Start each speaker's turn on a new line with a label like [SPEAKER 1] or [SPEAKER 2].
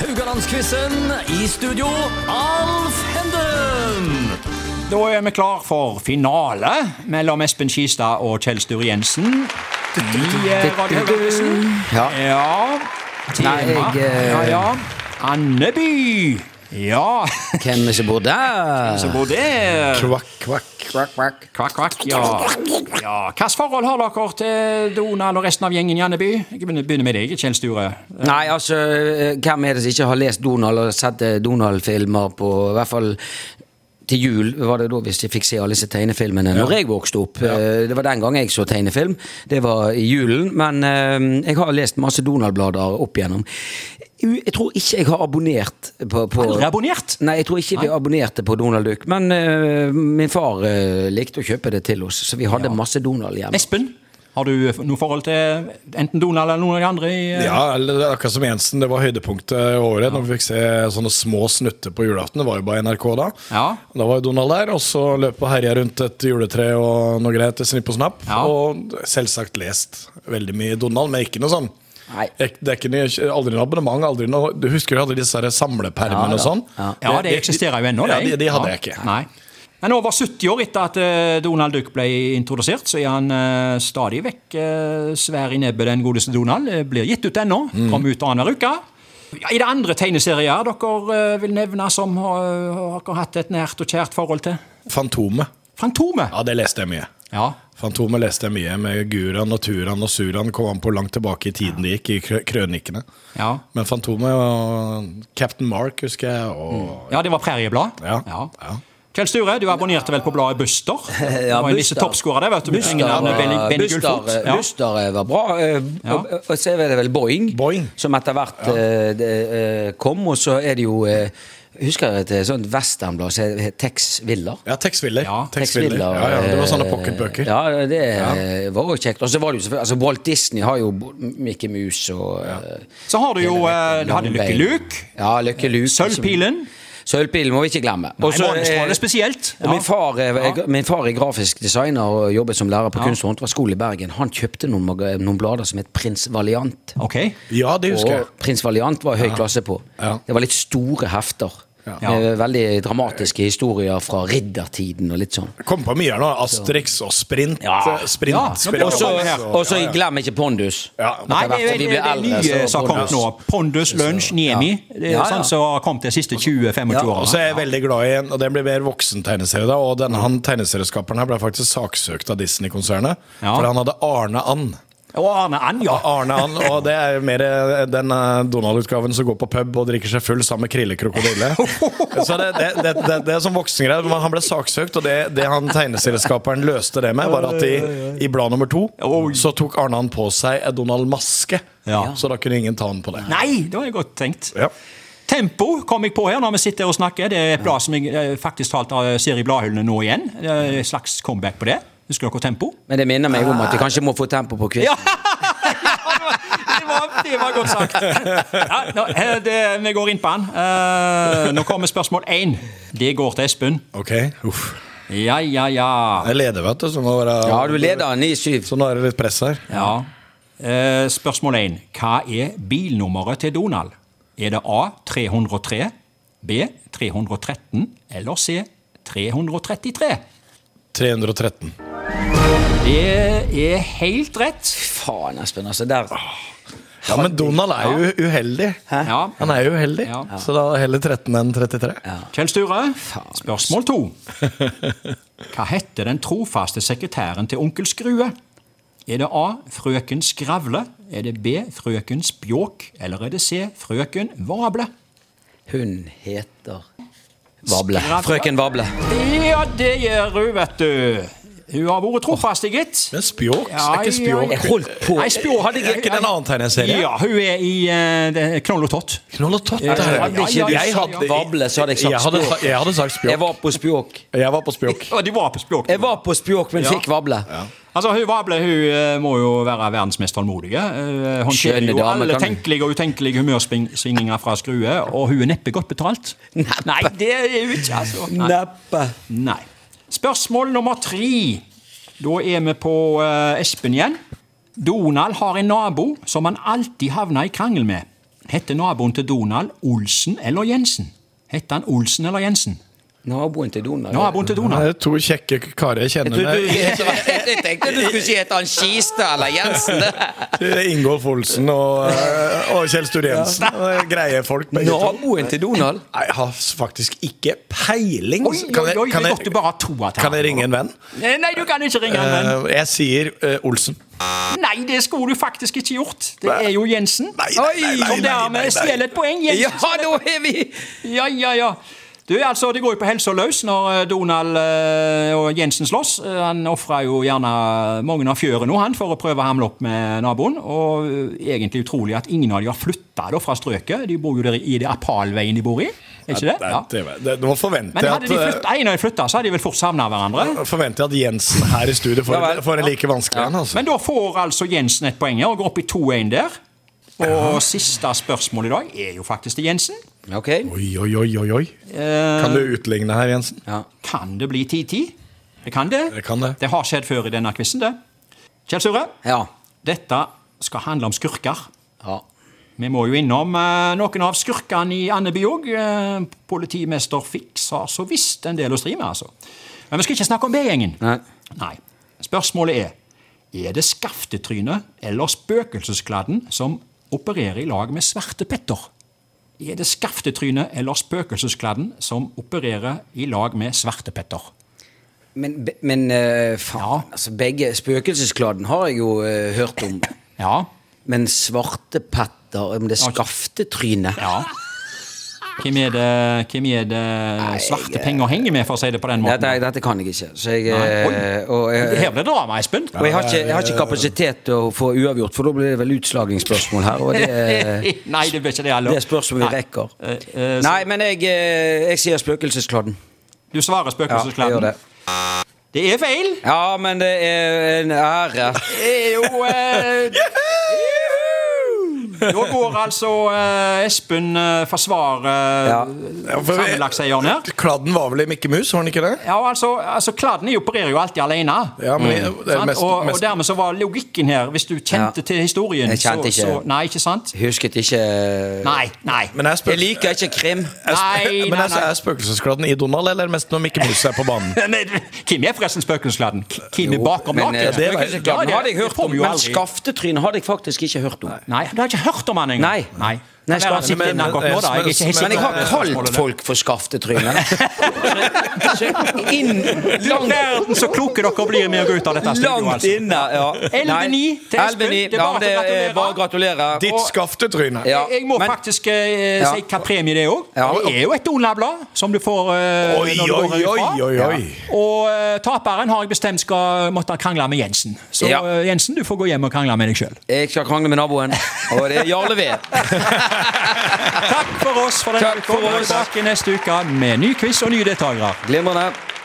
[SPEAKER 1] Haugalandsquizen. I studio, Alf Henden.
[SPEAKER 2] Da er vi klar for finale mellom Espen Skistad og Kjell Sture Jensen. I eh, Radio Haugalandsen.
[SPEAKER 3] Ja.
[SPEAKER 2] Ja. Tema.
[SPEAKER 3] Nei, jeg, eh,
[SPEAKER 2] Ja, ja. Andeby. Ja.
[SPEAKER 3] Hvem som bor der?
[SPEAKER 2] Så går det.
[SPEAKER 3] Kvakk, kvakk, kvakk, kvakk.
[SPEAKER 2] Kvakk, kvakk, ja. ja. Hvilket forhold har dere til Donald og resten av gjengen i Andeby? Jeg begynner med deg, Kjell Sture.
[SPEAKER 3] Nei, altså, eh, hvem er det som ikke har lest Donald og sett eh, Donald-filmer på I hvert fall til jul var det da hvis jeg fikk se alle disse tegnefilmene når jeg vokste opp. Eh, Det var den gang jeg så tegnefilm. Det var i julen. Men eh, jeg har lest masse Donald-blader opp igjennom. U- Jeg tror ikke jeg har abonnert på, på
[SPEAKER 2] Aldri abonnert?
[SPEAKER 3] Nei, jeg tror ikke vi abonnerte på Donald Duck. Men eh, min far eh, likte å kjøpe det til oss, så vi hadde masse Donald hjemme.
[SPEAKER 2] Espen, har du eh, noe forhold til enten Donald eller noen av de andre? i, eh,
[SPEAKER 4] Ja, eller det er akkurat som Jensen, det var høydepunktet i året. Når vi fikk se sånne små snutter på julaften. Det var jo bare NRK da.
[SPEAKER 2] Ja.
[SPEAKER 4] Da var jo Donald der, og så løp og herja rundt et juletre og noe greier til snipp og snapp.
[SPEAKER 2] Ja.
[SPEAKER 4] Og selvsagt lest veldig mye Donald, men ikke noe sånn.
[SPEAKER 3] Nei.
[SPEAKER 4] Ek- Det er ikke noe, aldri noe abonnement. Aldri noe, du husker du hadde disse her samlepermene og sånn?
[SPEAKER 2] Ja, det eksisterer jo ennå.
[SPEAKER 4] Ja,
[SPEAKER 2] det.
[SPEAKER 4] de, de hadde
[SPEAKER 2] Ja.
[SPEAKER 4] jeg ikke.
[SPEAKER 2] Nei. Men over 70 år etter at eh, Donald Duck ble introdusert, så er han eh, stadig vekk eh, svær i nebbet, den godeste Donald. Eh, Blir gitt ut ennå. Kommer ut annenhver uke. Ja, I det andre tegneserier dere eh, vil nevne som har, har dere hatt et nært og kjært forhold til?
[SPEAKER 4] Fantomet.
[SPEAKER 2] Fantomet.
[SPEAKER 4] Ja, det leste jeg mye.
[SPEAKER 2] Ja.
[SPEAKER 4] Fantomet leste jeg mye med Guran og Turan og Suran kom an på langt tilbake i tiden det gikk i krø- krønikene.
[SPEAKER 2] Ja.
[SPEAKER 4] Men Fantomet og Captain Mark husker jeg, og
[SPEAKER 2] ja, det var Prærieblad.
[SPEAKER 4] Ja.
[SPEAKER 2] Kjell Sture, du abonnerte vel på bladet Buster? det var en lisse
[SPEAKER 3] Buster.
[SPEAKER 2] toppskårer der, vet du. med Englandet, Benny,
[SPEAKER 3] var-
[SPEAKER 2] Benny
[SPEAKER 3] Buster-
[SPEAKER 2] Gullfot. Ja.
[SPEAKER 3] eh, Buster var bra. eh,
[SPEAKER 2] Ja.
[SPEAKER 3] Og, og så er det vel Boeing,
[SPEAKER 4] Boeing.
[SPEAKER 3] som etter hvert eh, det, eh, kom. Og så er det jo eh, Husker jeg et eh, sånt westernblad som heter Tex Willer?
[SPEAKER 4] Ja, Tex Willer.
[SPEAKER 2] Ja,
[SPEAKER 4] Tex Willer. Ja, ja, det var sånne
[SPEAKER 3] eh,
[SPEAKER 4] pocketbøker.
[SPEAKER 3] Ja, det eh, var jo kjekt. Og så var det jo selvfølgelig altså Walt Disney har jo bo- Mickey Mouse og eh,
[SPEAKER 2] Så har du jo eh, Du hadde Lucky
[SPEAKER 3] Langbein.
[SPEAKER 2] Luke.
[SPEAKER 3] Ja, Lucky Luke.
[SPEAKER 2] Sølvpilen.
[SPEAKER 3] Sølvpilen må vi ikke glemme. Og så,
[SPEAKER 2] Morgenstråle
[SPEAKER 3] eh,
[SPEAKER 2] spesielt.
[SPEAKER 3] Og min,
[SPEAKER 2] Ja.
[SPEAKER 3] far, er- er- min far er grafisk designer og jobbet som lærer på kunst- og håndverksskole i Bergen. Han kjøpte noen, maga- noen blader som het Prins Valiant.
[SPEAKER 2] Ok.
[SPEAKER 4] Ja, det husker jeg.
[SPEAKER 3] Og Prins Valiant var høy klasse på.
[SPEAKER 4] Ja.
[SPEAKER 3] Det var litt store hefter. Med veldig dramatiske historier fra riddertiden og litt sånn.
[SPEAKER 4] Kom på mye her nå. Asterix og Sprint.
[SPEAKER 3] Ja.
[SPEAKER 4] eh, Sprint.
[SPEAKER 2] Ja, nå
[SPEAKER 4] Sprint.
[SPEAKER 2] blir det
[SPEAKER 3] Og så
[SPEAKER 2] mange her.
[SPEAKER 3] og så glem ikke Pondus.
[SPEAKER 4] Ja,
[SPEAKER 2] Nei,
[SPEAKER 3] Etter
[SPEAKER 2] det
[SPEAKER 3] hvert som
[SPEAKER 2] er
[SPEAKER 3] vi
[SPEAKER 2] jo
[SPEAKER 3] blir
[SPEAKER 2] det er
[SPEAKER 3] eldre,
[SPEAKER 2] nye
[SPEAKER 3] så
[SPEAKER 2] som har kommet nå.
[SPEAKER 3] Pondus.
[SPEAKER 2] Pondus, Lunsj, Niemi. Det er
[SPEAKER 3] Ja, ja.
[SPEAKER 2] sånn som har kommet de siste 20-25
[SPEAKER 3] Ja,
[SPEAKER 4] Og så
[SPEAKER 2] årene.
[SPEAKER 4] er jeg veldig glad i en, og det blir mer voksen tegneserie da, og denne han tegneserieskaperen her ble faktisk saksøkt av Disney-konsernet,
[SPEAKER 2] Ja.
[SPEAKER 4] for han hadde Arne And.
[SPEAKER 2] Og Arne Ann, ja.
[SPEAKER 4] Arne And, og det er mer eh, den eh, Donald-utgaven som går på pub og drikker seg full sammen med krillekrokodille. Så det, det, det, det, det er sånn voksengreier, men han ble saksøkt, og det, det han tegneserieskaperen løste det med, var at i, i blad nummer to, så tok Arne And på seg en Donald-maske,
[SPEAKER 2] Ja.
[SPEAKER 4] så da kunne ingen ta han på det.
[SPEAKER 2] Nei, det var godt tenkt.
[SPEAKER 4] Ja.
[SPEAKER 2] Tempo kom jeg på her når vi sitter og snakker. Det er et blad som jeg eh, faktisk talt eh, ser i bladhyllene nå igjen. Det er Et slags comeback på det. Husker dere Tempo?
[SPEAKER 3] Men det minner meg om at jeg kanskje må få tempo på quizen.
[SPEAKER 2] Ja! Det var, det var godt sagt. Ja, nå, eh, det, vi går inn på den. Eh, nå kommer spørsmål én. Det går til Espen.
[SPEAKER 4] Ok, uff.
[SPEAKER 2] Ja, ja, ja.
[SPEAKER 4] Jeg leder, vet du, så må være...
[SPEAKER 3] Ja, du leder 9-7.
[SPEAKER 4] Så nå er det litt press her.
[SPEAKER 2] Ja. Eh, spørsmål 1. Hva er bilnummeret til Donald? Er det A 303, B 313 eller C 333?
[SPEAKER 4] 313.
[SPEAKER 2] Det er helt rett.
[SPEAKER 3] Faen, Espen. Altså, der
[SPEAKER 4] Ja, men Donald er jo uheldig.
[SPEAKER 2] Ja.
[SPEAKER 4] Han er jo uheldig,
[SPEAKER 2] Ja.
[SPEAKER 4] så da heller 13 enn 33.
[SPEAKER 2] Kjell Sture, spørsmål to. Hva heter den trofaste sekretæren til onkel Skrue? Er det A frøken Skravle, er det B frøken Spjåk, eller er det C frøken Vable?
[SPEAKER 3] Hun heter Vable.
[SPEAKER 2] Skravle.
[SPEAKER 3] Frøken Vable.
[SPEAKER 2] Ja, det gjør hun, vet du. Hun har vært trofast, gitt.
[SPEAKER 4] Men spjåk?
[SPEAKER 2] Ja,
[SPEAKER 4] er ikke spjåk
[SPEAKER 2] ja,
[SPEAKER 3] Jeg holdt på
[SPEAKER 2] Nei, Spjå hadde
[SPEAKER 4] Er ikke det en annen tegneserie?
[SPEAKER 2] Ja, hun er i eh, det- Knoll og Tott.
[SPEAKER 4] Knoll og tott.
[SPEAKER 3] Ja,
[SPEAKER 4] der.
[SPEAKER 3] hadde ikke
[SPEAKER 2] ja,
[SPEAKER 3] du
[SPEAKER 2] ja, ja.
[SPEAKER 3] sagt Vable, så hadde jeg
[SPEAKER 4] Jeg
[SPEAKER 3] sagt
[SPEAKER 4] hadde, sa-
[SPEAKER 3] Spjåk.
[SPEAKER 4] jeg hadde sagt
[SPEAKER 3] Jeg
[SPEAKER 4] spjåk.
[SPEAKER 3] var på Spjåk.
[SPEAKER 4] Jeg var på spjåk.
[SPEAKER 2] Og de var på språk.
[SPEAKER 3] Jeg var på Spjåk, men fikk Vable.
[SPEAKER 2] Altså, Hun Vable hun eh, må jo være verdens mest tålmodige. Eh, Hun
[SPEAKER 3] Skjønne
[SPEAKER 2] kjenner jo
[SPEAKER 3] dame,
[SPEAKER 2] alle
[SPEAKER 3] kan-
[SPEAKER 2] tenkelige og utenkelige humørsvingninger fra Skrue, og hun er neppe godt betalt. Nei, det er hun ikke, altså. Nei.
[SPEAKER 3] Neppe.
[SPEAKER 2] Nei. Spørsmål nummer tre. Da er vi på eh, Espen igjen. Donald har en nabo som han alltid havner i krangel med. Hette naboen til Donald Olsen eller Jensen? Hette han Olsen eller Jensen?
[SPEAKER 3] Naboen til Donald.
[SPEAKER 2] Naboen til
[SPEAKER 4] Det
[SPEAKER 2] Donald.
[SPEAKER 4] er to kjekke karer jeg
[SPEAKER 3] Du, du,
[SPEAKER 4] kjenner med.
[SPEAKER 3] jeg tenkte du skulle si het han Skiste eller Jensen.
[SPEAKER 4] Ingolf Olsen og, eh, og Kjell Sture Jensen. Det er Greie folk, begge to.
[SPEAKER 3] Naboen til Donald?
[SPEAKER 4] Nei, Jeg har faktisk ikke peiling.
[SPEAKER 2] Oi, oi, oi, det er godt du bare har to av
[SPEAKER 4] kan jeg ringe en venn?
[SPEAKER 2] Eh, Nei, nei, du kan ikke ringe han, venn.
[SPEAKER 4] Eh, jeg sier eh, Olsen.
[SPEAKER 2] Nei, det skulle du faktisk ikke gjort. Det er jo Jensen.
[SPEAKER 4] Nei, nei, nei, nei,
[SPEAKER 2] Som
[SPEAKER 4] nei, nei,
[SPEAKER 2] dermed
[SPEAKER 4] nei.
[SPEAKER 2] stjeler et poeng.
[SPEAKER 3] Ja,
[SPEAKER 2] Jensen.
[SPEAKER 3] da er vi
[SPEAKER 2] Ja, ja, ja. Du, altså, Det går jo på helsa løs når eh, Donald eh, og Jensen slåss. Eh, Han ofra jo gjerne mange av fjørene nå, han, for å prøve å hamle opp med naboen. Og eh, egentlig utrolig at ingen av de har flytta fra strøket. De bor jo der i det Apalveien de bor i. Er ikke det?
[SPEAKER 4] Nei,
[SPEAKER 2] Ja.
[SPEAKER 4] det, det, nå forventer
[SPEAKER 2] Men
[SPEAKER 4] jeg
[SPEAKER 2] hadde de
[SPEAKER 4] at,
[SPEAKER 2] flytta, en av de flytta, så hadde de vel fort savna hverandre.
[SPEAKER 4] eh, forventer jeg at Jensen her i studio får,
[SPEAKER 3] Ja vel.
[SPEAKER 4] får en like vanskelig en. Altså.
[SPEAKER 2] Men da får altså Jensen et poeng her, og går opp i 2-1 der. Og siste spørsmål i dag er jo faktisk til Jensen.
[SPEAKER 3] Ok.
[SPEAKER 4] Oi, oi, oi, oi, oi. Kan du utligne her, Jensen?
[SPEAKER 3] Ja.
[SPEAKER 2] Kan det bli 10-10? Det kan det.
[SPEAKER 4] Det kan det.
[SPEAKER 2] Det har skjedd før i denne quizen, det. Kjell Søre,
[SPEAKER 3] ja.
[SPEAKER 2] dette skal handle om skurker.
[SPEAKER 3] ja.
[SPEAKER 2] Vi må jo innom eh, noen av skurkene i Andeby òg. Eh, politimester Fiks har så visst en del å stri med, altså. Men vi skal ikke snakke om B-gjengen.
[SPEAKER 3] Nei.
[SPEAKER 2] Nei. Spørsmålet er er det Skaftetrynet eller Spøkelseskladden som opererer i lag med Svarte Petter? Er det Skaftetrynet eller Spøkelseskladden som opererer i lag med Svarte Petter?
[SPEAKER 3] Men, be- men eh, faen,
[SPEAKER 2] Ja.
[SPEAKER 3] altså begge Spøkelseskladden har jeg jo eh, hørt om.
[SPEAKER 2] Ja.
[SPEAKER 3] Men Svarte Petter Men det
[SPEAKER 2] Ok.
[SPEAKER 3] skaftetrynet
[SPEAKER 2] ja. Hvem er det, hvem er det svarte penger henger med, for å si det på den måten?
[SPEAKER 3] eh, dette, dette kan jeg ikke. Så jeg,
[SPEAKER 2] Nei, oi.
[SPEAKER 3] eh, og, jeg
[SPEAKER 2] Her blir det drama, Espen.
[SPEAKER 3] og jeg har, ikke, jeg har ikke kapasitet til å få uavgjort, for da blir det vel utslagingsspørsmål her. Og det,
[SPEAKER 2] Nei, det blir ikke det heller.
[SPEAKER 3] det er spørsmål vi
[SPEAKER 2] Nei.
[SPEAKER 3] rekker.
[SPEAKER 2] Eh, eh,
[SPEAKER 3] Nei, men jeg, eh, jeg sier Spøkelseskladden.
[SPEAKER 2] Du svarer
[SPEAKER 3] Ja, jeg
[SPEAKER 2] Spøkelseskladden.
[SPEAKER 3] gjør det.
[SPEAKER 2] det. er feil.
[SPEAKER 3] Ja, men det er en ære.
[SPEAKER 2] Det er jo eh, Da går altså eh, Espen eh, forsvarer
[SPEAKER 3] Ja.
[SPEAKER 4] Ja, for vi-
[SPEAKER 2] sammenlagtseieren her.
[SPEAKER 4] Kladden var vel i Mikke Mus, var den ikke det?
[SPEAKER 2] Ja, altså, altså Kladden opererer jo alltid alene.
[SPEAKER 4] Ja, men Mm. det er
[SPEAKER 2] sant?
[SPEAKER 4] mest,
[SPEAKER 2] og, og
[SPEAKER 4] mest
[SPEAKER 2] dermed så var logikken her, hvis du kjente
[SPEAKER 3] Ja.
[SPEAKER 2] til historien
[SPEAKER 3] Jeg kjente
[SPEAKER 2] så,
[SPEAKER 3] ikke.
[SPEAKER 2] så Nei, ikke sant?
[SPEAKER 3] Husket ikke
[SPEAKER 2] Nei, nei.
[SPEAKER 4] men er, spøk-
[SPEAKER 3] Jeg liker ikke krim.
[SPEAKER 4] er,
[SPEAKER 2] Nei,
[SPEAKER 4] spø-
[SPEAKER 2] nei,
[SPEAKER 4] men altså, er,
[SPEAKER 2] nei.
[SPEAKER 4] er spøkelseskladden i Donald, eller er det mest når Mikke Mus er på banen?
[SPEAKER 2] Nei, Hvem er forresten Spøkelseskladden? Hvem er
[SPEAKER 3] Jo,
[SPEAKER 2] bakom
[SPEAKER 3] men, eh,
[SPEAKER 2] laget?
[SPEAKER 4] det vet jeg
[SPEAKER 3] Spøkelseskladden
[SPEAKER 2] Ja, det-
[SPEAKER 3] hadde jeg
[SPEAKER 2] det
[SPEAKER 3] hørt
[SPEAKER 2] får
[SPEAKER 3] om,
[SPEAKER 2] vi jo
[SPEAKER 3] men
[SPEAKER 2] aldri.
[SPEAKER 3] Skaftetryn hadde jeg faktisk ikke hørt om.
[SPEAKER 2] Nei, du har ikke hørt om han engang?
[SPEAKER 3] Nei.
[SPEAKER 2] Nei.
[SPEAKER 3] Nei,
[SPEAKER 2] Kan være han
[SPEAKER 3] skal-
[SPEAKER 2] sitter
[SPEAKER 4] men-
[SPEAKER 2] inne akkurat nå, da. Jeg er ikke helt
[SPEAKER 4] men-
[SPEAKER 3] eh, Men jeg har
[SPEAKER 2] sikker på
[SPEAKER 3] kalt
[SPEAKER 2] spørsmålet.
[SPEAKER 3] folk for Skaftetrynet. Så inn,
[SPEAKER 2] Du verden så kloke dere blir med å gå ut av dette studioet,
[SPEAKER 3] langt
[SPEAKER 2] altså.
[SPEAKER 3] inne. Ja.
[SPEAKER 2] 11-9 til Espen.
[SPEAKER 3] 11-9.
[SPEAKER 2] Det er
[SPEAKER 3] Ja,
[SPEAKER 2] bare
[SPEAKER 3] men det
[SPEAKER 2] å
[SPEAKER 3] er
[SPEAKER 2] gratulere.
[SPEAKER 3] bare å gratulere.
[SPEAKER 4] Ditt skaftetryne.
[SPEAKER 3] Ja.
[SPEAKER 2] Jeg må
[SPEAKER 3] men-
[SPEAKER 2] faktisk eh,
[SPEAKER 3] Ja.
[SPEAKER 2] si hva premie det er òg.
[SPEAKER 3] Ja.
[SPEAKER 2] Det er jo et Donald-blad som du får eh,
[SPEAKER 4] Oi,
[SPEAKER 2] når du går
[SPEAKER 4] oi,
[SPEAKER 2] herifra.
[SPEAKER 4] oi, oi, oi.
[SPEAKER 2] Og eh, taperen har jeg bestemt skal måtte krangle med Jensen. Så
[SPEAKER 3] Ja.
[SPEAKER 2] eh, Jensen, du får gå hjem og krangle med deg sjøl.
[SPEAKER 3] Jeg skal krangle med naboen, og det er Jarle Ved.
[SPEAKER 2] Takk for oss for denne
[SPEAKER 3] Takk for
[SPEAKER 2] uka. Vi er
[SPEAKER 3] oss.
[SPEAKER 2] tilbake neste uke med ny quiz og nye deltakere.
[SPEAKER 3] Glimrende.